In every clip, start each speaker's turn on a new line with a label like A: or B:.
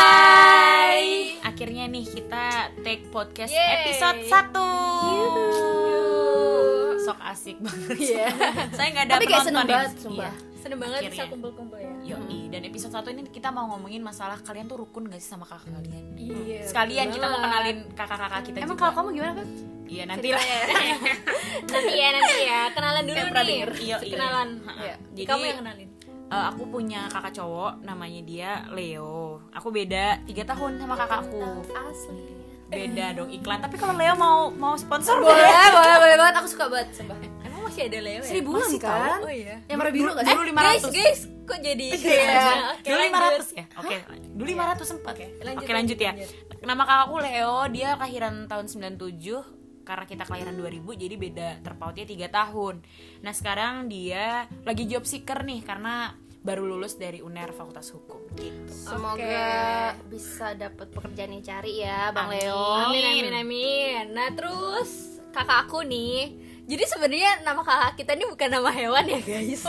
A: Hai.
B: Akhirnya nih kita take podcast
A: Yeay.
B: episode 1 Sok asik banget
A: Iya.
B: Saya nggak ada
C: Tapi kayak
B: penonton
C: seneng
B: ya.
C: banget, sumpah.
B: Iya.
A: Seneng banget
B: Akhirnya.
A: bisa
B: Iya.
A: kumpul-kumpul ya.
B: Yoi, dan episode 1 ini kita mau ngomongin masalah kalian tuh rukun gak sih sama kakak
C: Mm.
B: kalian?
A: Iya.
B: Sekalian kita mau
A: banget.
B: kenalin kakak-kakak kita
C: Emang
B: juga.
C: kalau kamu gimana kan?
B: Iya, nanti lah.
A: nanti ya, nanti ya. Kenalan dulu
C: Kayak pernah
A: nih.
C: denger.
B: Iya, iya.
A: Kenalan.
B: Ha-ha.
C: Iya.
B: Jadi
A: Kamu yang kenalin.
B: eh, aku punya kakak cowok namanya dia Leo. Aku beda 3 tahun sama kakakku.
C: Asli.
B: Beda dong iklan. Tapi kalau Leo mau mau sponsor boleh.
C: Boleh, boleh, boleh banget. Aku suka banget, sumpah.
A: Emang masih ada Leo ya?
C: Seribuan
A: Masih
C: kan?
A: tahu? Oh iya.
C: Yang warna biru nggak sih? Eh,
B: Dulu
A: Guys,
B: 500.
A: guys, kok jadi
C: Iya.
A: Oke,
B: dulu
A: lanjut.
B: 500 ya? Oke, dulu 500 sempat. Oke,
A: lanjut,
B: lanjut,
A: lanjut,
B: ya. Nama kakakku Leo, dia kelahiran tahun 97 karena kita kelahiran 2000 jadi beda terpautnya 3 tahun. Nah, sekarang dia lagi job seeker nih karena baru lulus dari UNER Fakultas Hukum gitu.
C: Semoga bisa dapat pekerjaan yang cari ya, Bang
B: Amin.
C: Leo.
A: Amin amin amin. Nah, terus kakak aku nih. Jadi sebenarnya nama kakak kita ini bukan nama hewan ya, guys.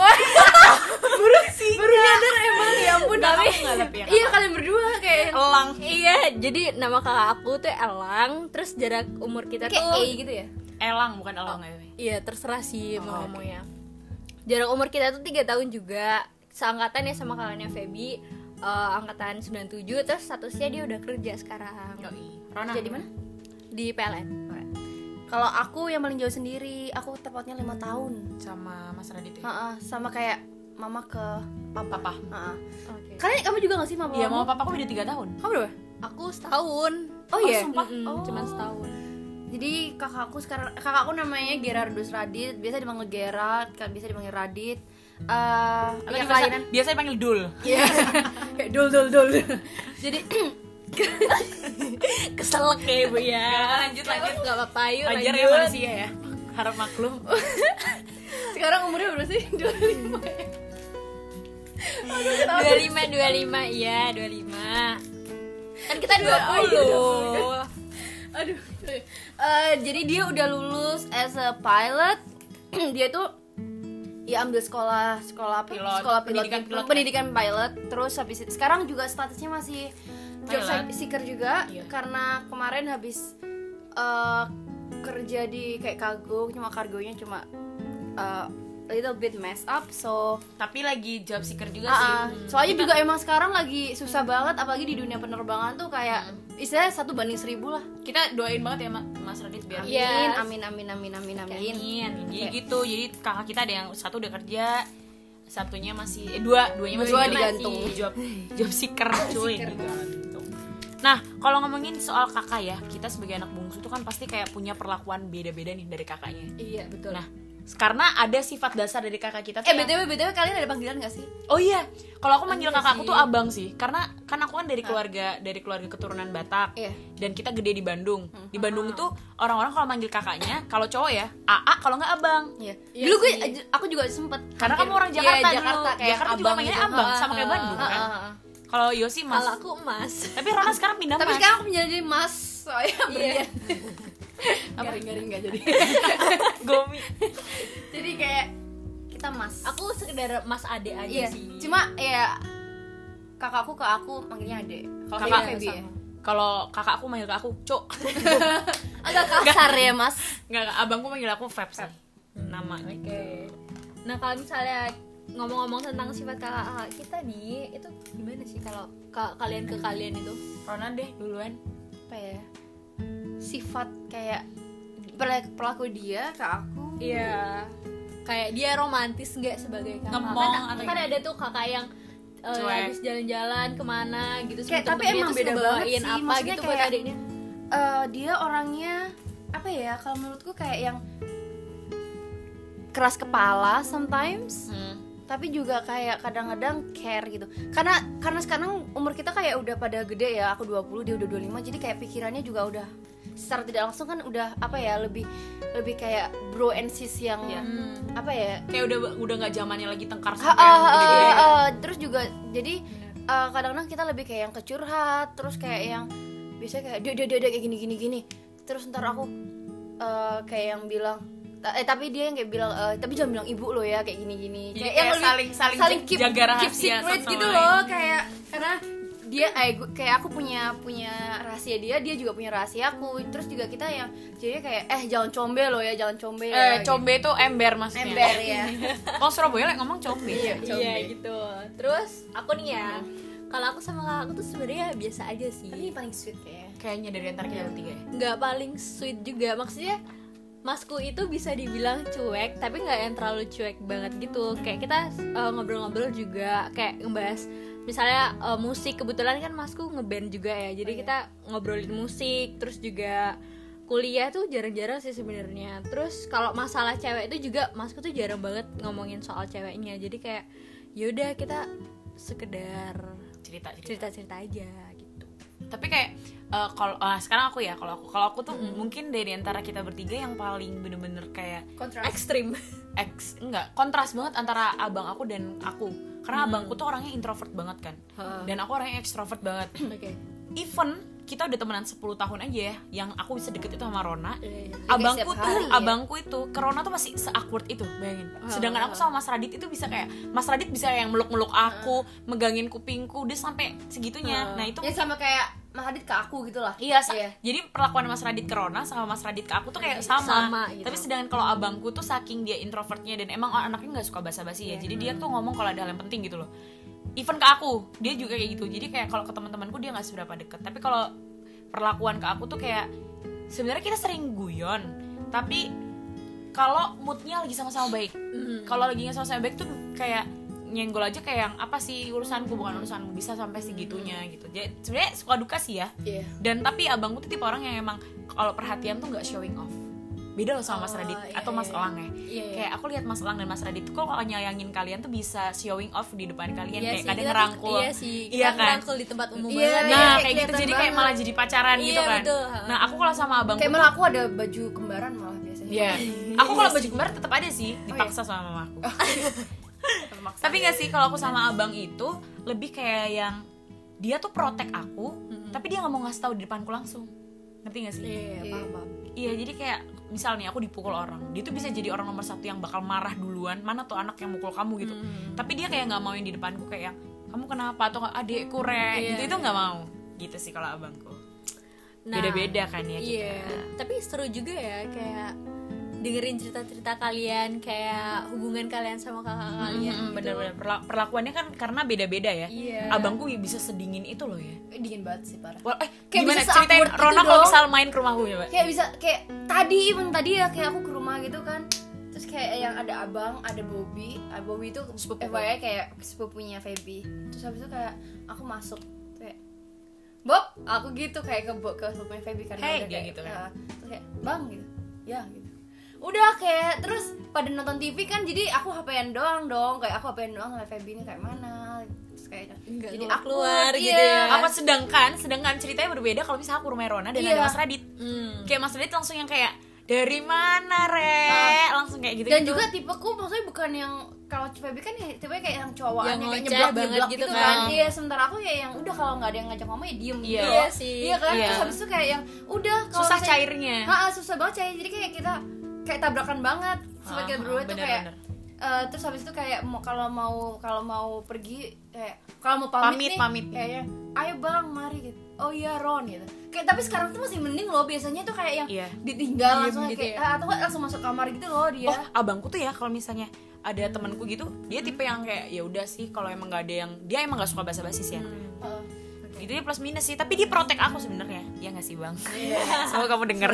C: Baru nyadar emang ya ampun.
A: Tapi
B: Kamu nggak lebih ya,
C: Iya, kalian berdua kayak
B: Elang.
A: Iya, jadi nama kakak aku tuh Elang, terus jarak umur kita
C: kayak
A: tuh
C: E gitu ya.
B: Elang bukan elang ya.
A: Iya, terserah sih
B: Oh,
A: mau
B: oke.
A: ngomongnya. Jarak umur kita tuh 3 tahun juga. Seangkatan ya sama kakaknya Feby, eh, angkatan 97 terus statusnya dia udah kerja sekarang
B: Yoi. Rona.
C: Jadi mana?
A: di PLN.
C: Kalau aku yang paling jauh sendiri, aku terpautnya lima tahun.
B: Sama Mas Radit ya?
C: Heeh, sama kayak mama ke papa.
B: Papa.
C: Heeh.
A: Oke.
C: Kalian kamu juga gak sih mama?
B: Iya, mau
C: kamu?
B: papa aku beda 3 tahun.
C: Kamu berapa?
A: Aku setahun.
C: Oh, iya?
B: sumpah?
A: Mm-mm,
C: Oh.
A: cuman setahun.
C: Jadi kakakku sekarang kakakku namanya Gerardus Radit, biasa dipanggil Gerard, kan biasa dipanggil Radit. Eh,
B: Atau biasa-
C: punya kelahiran
B: biasanya panggil Dul.
C: Iya. Kayak dul dul dul. Jadi
A: Kesel kayak Bu ya.
B: lanjut,
A: lanjut enggak apa-apa yuk.
B: Wajar ya
A: lanjut.
B: manusia ya. Harap maklum.
C: sekarang umurnya berapa sih? 25. ya?
A: 25 25 iya 25. Kan kita 20.
C: Aduh. Eh, jadi dia udah lulus as a pilot. dia tuh ya ambil sekolah sekolah apa?
B: Pilot.
C: Sekolah pilot,
B: Pendidikan pilot, kan?
C: pendidikan pilot. Terus habis itu sekarang juga statusnya masih job
B: Pilot.
C: seeker juga
B: Iya.
C: karena kemarin habis eh, kerja di kayak kargo cuma kargonya cuma eh, a little bit mess up so
B: Tapi lagi job seeker juga sih. kan
C: Ah, ah. soalnya juga emang sekarang lagi susah banget apalagi di dunia penerbangan tuh kayak
B: Hmm.
C: istilahnya satu banding seribu lah
B: kita doain banget ya Ma- Mas Radit biar
C: amin
A: Iya. Yes.
C: amin amin amin amin amin
B: Amin. Jadi gitu. Jadi kakak kita ada yang satu udah kerja, satunya masih eh, dua, duanya masih
C: Dua
B: job-
C: digantung.
B: masih job job seeker cuy. Digantung. Nah, kalau ngomongin soal kakak ya, kita sebagai anak bungsu tuh kan pasti kayak punya perlakuan beda-beda nih dari kakaknya.
C: iya betul
B: Nah, karena ada sifat dasar dari kakak kita tuh
C: eh
B: yang-
C: btw btw kalian ada panggilan gak sih
B: Oh iya, kalau aku manggil kakakku tuh abang sih, karena kan aku kan dari keluarga dari keluarga keturunan Batak,
C: Ah. Iya. Hmm. Ah.
B: dan kita gede di Bandung. Di Bandung tuh orang-orang kalau manggil kakaknya, kalau cowok ya AA, kalau nggak abang.
C: iya
A: Iya
C: dulu gue
A: sih.
C: aku juga sempet
B: Karena kamu orang
C: Iya,
B: Jakarta dulu.
C: Jakarta kayak
B: Jakarta juga
C: abang
B: manggilnya
C: gitu.
B: abang,
C: Ah,
B: sama kayak
C: ah,
B: Bandung
C: ah,
B: kan.
C: ah, ah.
B: Kalau Yosi mas.
A: Kalau aku emas.
B: Tapi Rona sekarang pindah mas.
C: tapi sekarang aku menjadi mas Iya. soalnya
A: Iya.
C: berlian
B: Apa?
C: garing nggak jadi
B: Gomi.
C: jadi kayak kita mas
A: Aku sekedar Mas Ade aja
C: iya
A: sih.
C: cuma ya kakakku ke aku manggilnya ade kalau
B: Kakak
C: kakak Feby ya
A: sama.
B: Kalau kakakku manggil ke aku, cok.
C: agak kasar ya mas
B: Nggak, nggak, abangku manggil aku Feb sih.
C: Hmm.
B: Namanya.
A: Oke. Nah kalau misalnya ngomong-ngomong tentang sifat kakak kakak kita nih, itu gimana sih kalau ka- kalian ke kalian itu?
B: Rona deh duluan.
C: apa ya sifat kayak perla- perlaku dia ke aku
A: Iya. Kayak dia romantis nggak sebagai kakak?
B: Ngemong
A: kan,
B: atau
A: kan
B: gimana?
A: ada tuh kakak yang eh,
B: Cuek.
A: habis jalan-jalan kemana gitu
C: Kayak, tapi
A: temen-temennya
C: emang
A: terus
C: beda
A: ngebawain
C: banget sih,
A: apa
C: maksudnya
A: gitu buat
C: kayak-
A: adiknya
C: Eh, dia orangnya apa ya kalau menurutku kayak yang keras kepala sometimes tapi juga kayak kadang-kadang care gitu karena karena sekarang umur kita kayak udah pada gede ya aku 20 dia udah 25 jadi kayak pikirannya juga udah secara tidak langsung kan udah apa ya lebih lebih kayak bro and sis yang
B: Iya.
C: apa ya
B: Kayak udah udah nggak zamannya lagi tengkar
C: Ah,
B: sampai
C: ah,
B: yang gitu ya.
C: ah,
B: gede-gede.
C: ah, ah. terus juga jadi eh, kadang-kadang kita lebih kayak yang kecurhat terus kayak yang biasanya kayak dia dia dia kayak gini gini gini terus ntar aku eh, kayak yang bilang ta- eh tapi dia yang kayak bilang eh, tapi jangan bilang ibu lo ya kayak gini gini
B: Jadi kayak Iya, saling- saling jaga rahasia
C: keep secret
B: satu sama
C: gitu
B: lain.
C: loh kayak karena dia eh, gu- kayak aku punya punya rahasia dia dia juga punya rahasia aku terus juga kita yang jadi kayak eh jangan combe lo ya jangan combe ya,
B: Eh, combe itu ember maksudnya.
C: ember ya
B: Oh, Surabaya lah ngomong combe.
C: Iya.
A: Iya gitu. Terus aku nih ya, kalau aku sama kakak aku tuh sebenarnya biasa aja
C: ini
A: sih.
C: paling sweet kayaknya
B: Kayaknya dari antara kita bertiga ya.
A: Nggak paling sweet juga. Maksudnya Masku itu bisa dibilang cuek, tapi nggak yang terlalu cuek banget gitu. Kayak kita eh, ngobrol-ngobrol juga, kayak ngebahas misalnya eh, musik. Kebetulan kan Masku ngeband juga ya, jadi kita ngobrolin musik. Terus juga kuliah tuh jarang-jarang sih sebenarnya. Terus kalau masalah cewek itu juga Masku tuh jarang banget ngomongin soal ceweknya. Jadi kayak yaudah kita sekedar
B: Cerita cerita.
A: cerita-cerita aja gitu
B: Tapi kayak eh, kalau ah, sekarang aku ya, kalau aku kalau aku tuh mungkin dari antara kita bertiga yang paling bener-bener kayak
C: kontras
A: ekstrim
B: ex enggak kontras banget antara abang aku dan aku. Karena abangku tuh orangnya introvert banget kan.
A: Ha.
B: Dan aku orangnya ekstrovert banget.
A: oke
B: Even kita udah temenan 10 tahun aja ya, yang aku bisa deket itu sama Rona,
A: Iya, iya.
B: abangku
C: setiap
B: tuh
C: hari ya.
B: abangku itu Corona tuh masih se-awkward itu bayangin sedangkan aku sama Mas Radit itu bisa kayak Mas Radit bisa yang meluk-meluk aku megangin kupingku dia sampai segitunya nah itu
C: ya sama kayak Mahadit ke aku gitu lah
B: Iya, sa-
C: Iya.
B: jadi perlakuan Mas Radit ke Rona sama Mas Radit ke aku tuh kayak sama.
A: Sama, gitu.
B: Tapi sedangkan kalau abangku tuh saking dia introvertnya dan emang anaknya nggak suka basa-basi ya.
C: Iya.
B: Jadi dia tuh ngomong kalau ada hal yang penting gitu loh. Even ke aku, dia juga kayak gitu. Jadi kayak kalau ke teman-temanku dia nggak seberapa deket. Tapi kalau perlakuan ke aku tuh kayak sebenarnya kita sering guyon, tapi kalau moodnya lagi sama-sama baik.
C: Mm-hmm.
B: Kalau lagi nggak sama-sama baik tuh kayak nyenggol aja kayak yang apa sih urusanku bukan urusanmu bisa sampai segitunya gitu. Jadi sebenarnya suka duka sih ya
C: Mm-hmm. Iya.
B: dan tapi abangku tuh tipe orang yang emang kalau perhatian tuh nggak showing off beda loh sama
A: Oh,
B: Mas Radit
A: iya,
B: atau Mas
A: iya.
B: Elang ya
A: Iya, iya.
B: kayak aku lihat Mas Elang dan Mas Radit tuh kok kalau nyayangin kalian tuh bisa showing off di depan kalian
A: Iya
B: kayak
A: sih,
B: kadang
A: kita tuh-
B: ngerangkul
A: iya sih kita
B: Iya kan
A: ngerangkul di tempat umum
C: Iya,
A: banget
B: nah
C: kayak
B: kayak gitu
C: kelihatan
B: jadi kayak
C: banget.
B: malah jadi pacaran
A: Iya,
B: gitu kan
A: betul.
B: nah aku kalau sama abangku
C: kayak
B: tuh-
C: malah aku ada baju kembaran malah biasanya
B: Iya. Aku kalau baju kembar tetap ada
A: Oh,
B: sih,
A: iya.
B: dipaksa sama mama aku. Tapi nggak sih kalau aku sama abang itu lebih kayak yang dia tuh protek aku, tapi dia nggak mau ngasih tahu di depanku langsung. Ngerti gak sih?
A: iya iya, paham paham
B: Iya, jadi kayak misal nih aku dipukul orang, dia tuh bisa jadi orang nomor satu yang bakal marah duluan. Mana tuh anak yang mukul kamu gitu. Tapi dia kayak nggak mauin di depanku kayak yang kamu kenapa atau nggak, adekku re
A: Iya,
B: gitu itu nggak mau. Gitu sih kalau abangku.
A: Nah,
B: Beda-beda kan ya kita.
A: iya tapi seru juga ya kayak dengerin cerita-cerita kalian kayak hubungan kalian sama kakak kalian
B: Mm,
A: gitu.
B: bener-bener Perla- perlakuannya kan karena beda-beda ya.
C: ya. Iya.
B: Abangku bisa sedingin itu loh ya.
C: Eh, dingin banget sih parah
B: Wah, eh
C: Kayak
B: gimana
C: bisa
B: ceritain
C: se-awkward itu
B: Rona kalau
C: dong.
B: misal main ke rumahku ya, coba.
C: kayak bisa kayak tadi even tadi ya kayak aku ke rumah gitu kan terus kayak yang ada abang ada Bobby Ah, Bobby itu
B: Sepupu.
C: FYI kayak sepupunya Feby terus habis itu kayak aku masuk kayak Bob aku gitu kayak ke Bob ke sepupunya Feby karena
B: Hey,
C: udah
B: dia
C: kayak
B: gitu kan.
C: ah, terus kayak bang gitu ya gitu udah kayak terus pada nonton TV kan jadi aku HP-an doang dong kayak aku HP-an doang sama Feby ini kayak mana terus kayak
A: Nggak
C: jadi iya.
A: keluar-
C: aku
A: keluar gitu ya.
B: Iya. Apa sedangkan sedangkan ceritanya berbeda kalau misal aku rumah Rona dan
C: Iya.
B: ada Mas Radit.
A: Hmm.
B: Kayak Mas Radit langsung yang kayak dari mana re? langsung kayak gitu.
C: Ah. dan juga tipeku maksudnya bukan yang kalau Feby kan ya, tipenya kayak yang cowokan
A: Yang
C: yang kayak
A: ngoceh
C: nyeblak
A: banget
C: nyeblak
A: gitu
C: gitu
A: kan.
C: kan iya sementara aku kayak yang udah kalau nggak ada yang ngajak ngomong ya
B: Iya.
C: diem gitu
A: Iya sih.
C: iya kan
B: Iya.
C: terus habis itu kayak yang udah kalau
B: susah
C: misalnya- Ah, oh.
B: cairnya.
C: Ha, ha, susah banget cair jadi kayak kita kayak tabrakan banget
B: Ha,
C: sebagai kita
B: ha,
C: berdua tuh
B: bener,
C: kayak
B: bener.
C: eh, terus habis itu kayak mau kalau mau kalau mau pergi kayak kalau mau
B: Pamit,
C: pamit, nih
B: pamit.
C: kayaknya ayo bang mari gitu oh iya Ron gitu kayak tapi sekarang tuh masih mending loh biasanya tuh kayak yang
B: Iya.
C: ditinggal
A: Diem
C: langsung
A: gitu
C: kayak
A: ya.
C: ah, atau nggak langsung masuk kamar gitu loh dia
B: Oh, abangku tuh ya kalau misalnya ada temanku gitu, dia tipe yang kayak ya udah sih kalau emang nggak ada yang dia emang nggak suka basa-basi sih ya.
C: Eh,
B: Gitu dia plus minus sih, tapi dia protek aku sebenarnya. Ya nggak sih, Bang? Iya. Semoga kamu denger.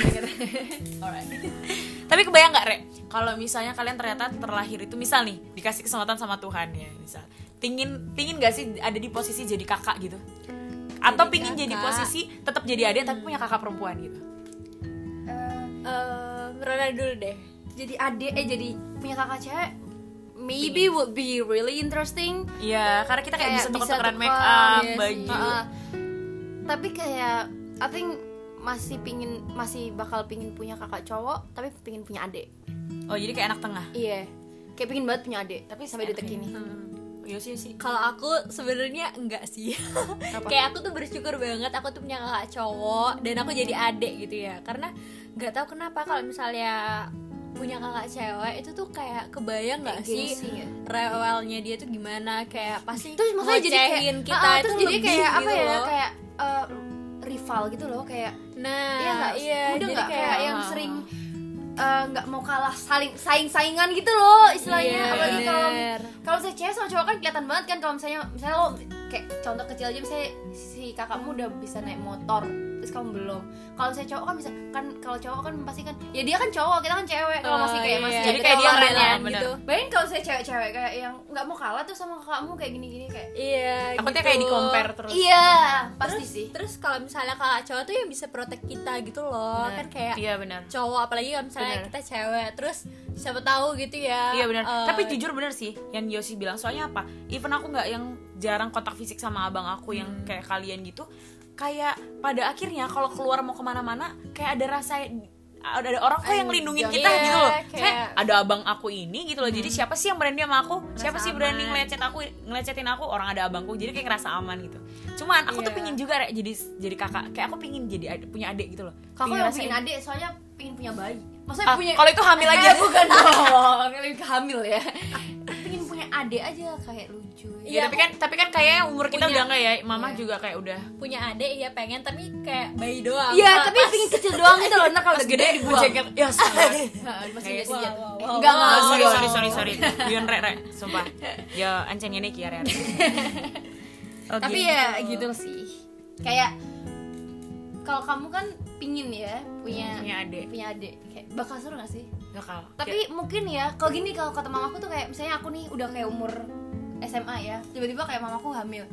B: tapi kebayang nggak, Re? Kalau misalnya kalian ternyata terlahir itu misal nih dikasih kesempatan sama Tuhan ya, misal. Pingin pingin gak sih ada di posisi jadi kakak gitu? Atau pingin jadi
A: kakak.
B: posisi tetap jadi adik tapi punya kakak perempuan gitu?
C: eh,
A: Eh, Rona dulu deh
C: jadi adik eh jadi punya kakak cewek maybe would be really interesting
B: Iya, karena kita kayak, bisa tuker-tukeran
C: tukar,
B: make up,
C: iya sih.
B: baju.
C: Heeh. tapi kayak I think masih pingin masih bakal pingin punya kakak cowok tapi pingin punya adik
B: Oh, jadi kayak anak tengah.
C: iya kayak pingin banget punya adik tapi sampai detik ini
B: Iya sih sih.
A: kalau aku sebenarnya enggak sih kayak aku tuh bersyukur banget aku tuh punya kakak cowok dan aku jadi adik gitu ya karena nggak tahu kenapa kalau misalnya punya kakak cewek itu tuh kayak kebayang nggak sih
C: gengsi ya?
A: rewelnya dia tuh gimana kayak pasti
C: terus maksudnya jadi kayak
A: ngecehin kita
C: Ah, ah,
A: itu
C: terus jadi
A: lebih
C: kayak apa
A: gitu
C: ya
A: loh.
C: kayak eh, rival gitu loh kayak
A: nah
C: iya nggak
A: iya
C: udah
A: jadi
C: nggak kayak,
A: kayak
C: yang
B: ah,
C: sering eh, nggak mau kalah saling saing saingan gitu loh
A: Iya,
C: istilahnya apalagi kalau
A: bener.
C: kalau misalnya cewek sama cowok kan kelihatan banget kan kalau misalnya misalnya lo kayak contoh kecil aja misalnya si kakakmu udah bisa naik motor terus kamu belum kalau misalnya cowok kan bisa kan kalau cowok kan pasti kan ya dia kan cowok kita kan cewek kalau masih kayak ya,
A: Oh,
C: masih
A: iya.
B: Jadi
A: Kita
B: kayak dia
A: orang
B: rela,
A: lain
B: bener.
A: gitu
C: bayangin kalau saya cewek-cewek kayak yang nggak mau kalah tuh sama kakakmu kayak gini-gini kayak
A: iya
B: takutnya
A: gitu.
B: kayak di compare terus
C: iya pasti
A: terus,
C: sih
A: terus kalau misalnya kakak cowok tuh yang bisa protect kita gitu loh kan kayak
B: iya benar
A: cowok apalagi kalau misalnya
B: Bener.
A: kita cewek terus siapa tahu gitu ya
B: Iya benar.
A: eh,
B: Tapi jujur bener sih yang Yosi bilang. Soalnya apa? Even aku nggak yang jarang kontak fisik sama abang aku yang
A: Hmm.
B: kayak kalian gitu. Kayak pada akhirnya kalau keluar mau kemana-mana kayak ada rasa ada, ada orang kok yang lindungin
C: jangan.
B: kita
A: Iya,
B: gitu loh.
A: kayak- Hmm.
B: Kayak ada abang aku ini gitu loh. Jadi siapa sih yang berani sama aku? siapa sih berani
A: aman.
B: ngelecet aku ngelecetin aku? Orang ada abangku. Jadi kayak ngerasa aman gitu. Cuman aku tuh
A: Iya.
B: pingin juga Rek, jadi jadi kakak. Kayak aku pingin jadi ad- punya adik gitu loh.
C: kakak
B: Pingin
C: yang
B: ngerasain-
C: pingin adik soalnya pingin punya bayi maksudnya
B: Ah,
C: punya
B: kalau itu hamil aja.
C: Ya, bukan dong Oh, lebih ke hamil ya pingin punya adik aja kayak lucu
B: Ya,
A: Iya,
B: tapi kan tapi kan kayaknya umur kita
A: punya-
B: udah enggak ya. Mama
C: Iya.
B: juga kayak udah
A: punya adik ya pengen tapi kayak bayi doang
C: Iya,
A: Pas-
C: tapi pingin kecil doang gitu loh. Ntar kalau udah gede
B: gue
C: dibuang.
B: jengkel ya sorry
C: Nah, Masih
B: Kayak-
C: gede
A: Wah,
C: sih.
A: wah, wah,
C: Enggak
A: wah.
C: enggak.
B: sorry
A: iya.
B: sorry sorry sorry yun rek rek sumpah ya ancen ini kia rek Oh, Oke.
C: Tapi ya gitu sih. Kayak kalau kamu kan pingin ya punya
A: Iya.
B: punya adik
C: punya adik. Kayak bakal seru gak sih?
B: bakal
C: Tapi mungkin ya kalau gini kalau kata mamaku tuh kayak misalnya aku nih udah kayak umur SMA ya. Tiba-tiba kayak mamaku hamil.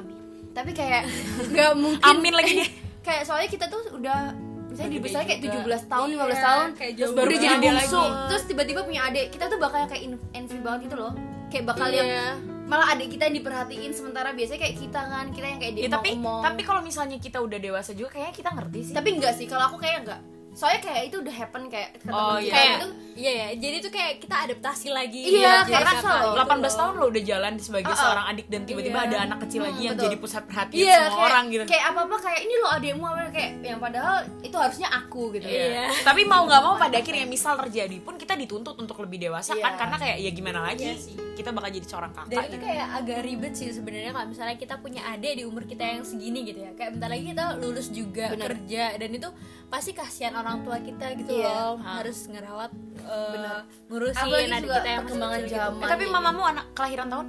C: Amin. Tapi kayak nggak mungkin.
B: amin lagi dia
C: kayak soalnya kita tuh udah misalnya
A: Udah
C: dibesarnya kayak
A: gede juga.
C: 17 tahun, 15
A: Iya,
C: tahun
A: kayak
C: terus
A: jauh
C: baru
B: banget.
C: jadi
B: Ada
C: bungsu
A: lagi.
C: terus tiba-tiba punya adik kita tuh bakal kayak in- envy banget gitu loh kayak bakal
A: Iya.
C: yang malah adik kita yang diperhatiin sementara biasanya kayak kita kan kita yang kayak
B: Ya,
C: diomong
B: tapi tapi kalau misalnya kita udah dewasa juga kayaknya kita ngerti sih
C: tapi enggak sih kalau aku kayak enggak soalnya kayak itu udah happen kayak ke temen
B: Oh,
C: kita
A: kayak
C: gitu
A: iya ya jadi tuh kayak kita adaptasi lagi
C: Iya,
A: Jadi
C: kayak
A: kakak
C: rasa loh.
A: gitu
B: 18 Oh, tahun lo udah jalan sebagai
C: Uh-uh.
B: seorang adik dan tiba-tiba
A: Iya.
B: ada anak kecil lagi
C: Hmm,
B: yang
C: betul.
B: jadi pusat perhatian
C: Iya,
B: semua
C: kayak,
B: orang gitu.
C: kayak apa-apa kayak ini loh adikmu apa gitu. kayak yang padahal itu harusnya aku gitu.
A: Iya.
B: Tapi mau nggak mau pada akhirnya misal terjadi pun kita dituntut untuk lebih dewasa kan
C: Iya.
B: karena kayak ya gimana lagi
A: Iya sih.
B: kita bakal jadi seorang kakak.
A: dan itu
B: gitu.
A: kayak agak ribet sih sebenarnya kalau misalnya kita punya adik di umur kita yang segini gitu ya kayak bentar lagi kita lulus juga
C: Bener.
A: kerja dan itu pasti kasihan orang tua kita gitu
C: Iya.
A: loh
B: Ha.
A: harus ngerawat eh,
C: Bener.
A: ngurusin
C: Apalagi
A: adik kita
C: juga
A: yang masih
C: perkembangan
A: kecil gitu.
C: zaman.
B: Eh, tapi mamamu anak kelahiran tahun?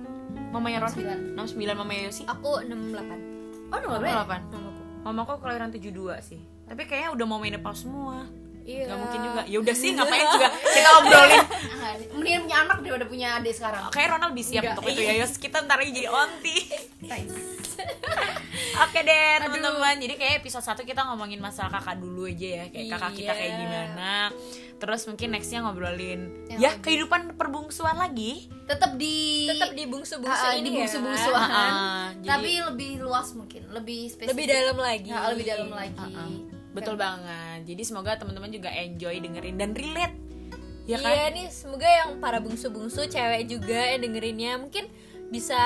B: Mamanya Ron?
C: 69.
B: 69, mamanya Yosi?
A: aku 68
C: Oh, no, boleh.
B: 68.
A: mamaku
B: Mamaku kelahiran 72 sih. Tapi kayaknya udah mau menopause semua.
A: iya
B: Gak mungkin juga. Ya udah sih, ngapain juga kita obrolin.
C: Ah, Mendingan punya anak daripada punya adik sekarang.
B: Kayak Ronald lebih siap
A: Nggak,
B: untuk itu ya, Yos. Kita ntar lagi jadi onti.
C: Thanks.
B: Oke deh, teman-teman. Jadi kayak episode 1 kita ngomongin masalah kakak dulu aja ya. Kayak kakak kita
A: Iya.
B: kayak gimana. Terus mungkin nextnya ngobrolin
C: Yang
B: ya kehidupan perbungsuan lagi.
C: Tetap di
A: tetap di bungsu-bungsu
C: Ah, ah,
A: ini
C: di
A: ya.
C: bungsu-bungsuan.
B: Ah, ah, jadi-
C: tapi lebih luas mungkin, lebih spesifik.
A: lebih dalam lagi
C: Nah, lebih dalam lagi.
B: Uh-uh. Betul banget. Jadi semoga teman-teman juga enjoy dengerin dan relate. Ya kan?
A: Iya nih, semoga yang para bungsu-bungsu cewek juga yang dengerinnya mungkin bisa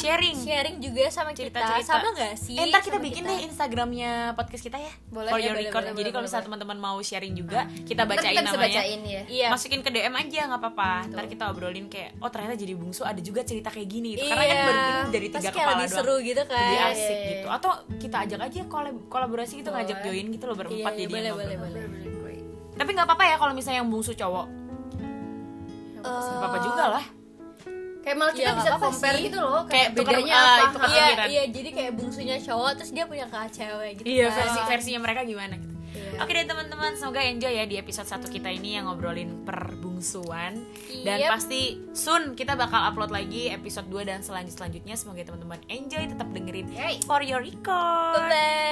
B: Sharing.
A: sharing juga sama
B: Cerita-cerita.
A: kita. Nah, Sama gak sih?
B: Eh, ntar kita
A: sama
B: bikin deh Instagramnya podcast kita ya.
C: Boleh,
B: For
C: ya,
B: your
A: boleh,
B: record.
A: boleh,
B: Jadi
A: boleh, Hmm.
B: kalau misalnya teman-teman mau sharing juga, kita
C: Ntar
B: bacain
C: kita bisa
B: namanya.
C: bacain ya.
A: Iya.
B: Masukin ke DM aja nggak apa-apa. Ntar kita obrolin kayak, oh ternyata jadi bungsu ada juga cerita kayak gini. Gitu. Karena kan
A: Iya.
B: baru ini dari
A: Pasti
B: tiga
A: kayak
B: kepala
A: lebih
B: doang.
A: seru gitu kan.
B: Lebih
C: Iya,
B: asik
C: iya,
B: gitu. Atau kita ajak aja kolab- kolaborasi gitu
C: Boleh.
B: ngajak join gitu loh berempat
A: Iya, iya,
B: jadi
A: boleh,
B: ngobrol.
A: boleh, boleh.
B: Tapi nggak apa-apa ya kalau misalnya yang bungsu cowok.
A: Eh,
B: Nggak
A: Oh.
B: apa-apa juga lah.
C: Kayak malah kita
A: Iya,
C: bisa
A: nggak apa-apa
C: compare
A: sih.
C: gitu loh,
B: Kayak
C: kayak,
B: tukar-
C: bedanya
B: ah,
C: apa.
B: tukar
A: Iya,
B: pikiran.
A: iya, jadi kayak bungsunya cowok terus dia punya kakak cewek gitu.
B: Iya,
A: kan.
B: versi versinya mereka gimana gitu.
A: Iya.
B: Oke deh teman-teman, semoga enjoy ya di episode 1 kita ini yang ngobrolin perbungsuan dan
A: Yep.
B: pasti soon kita bakal upload lagi episode 2 dan selanjut-selanjutnya. Semoga teman-teman enjoy tetap dengerin
C: Yay.
B: For Your Record.
A: Bye-bye.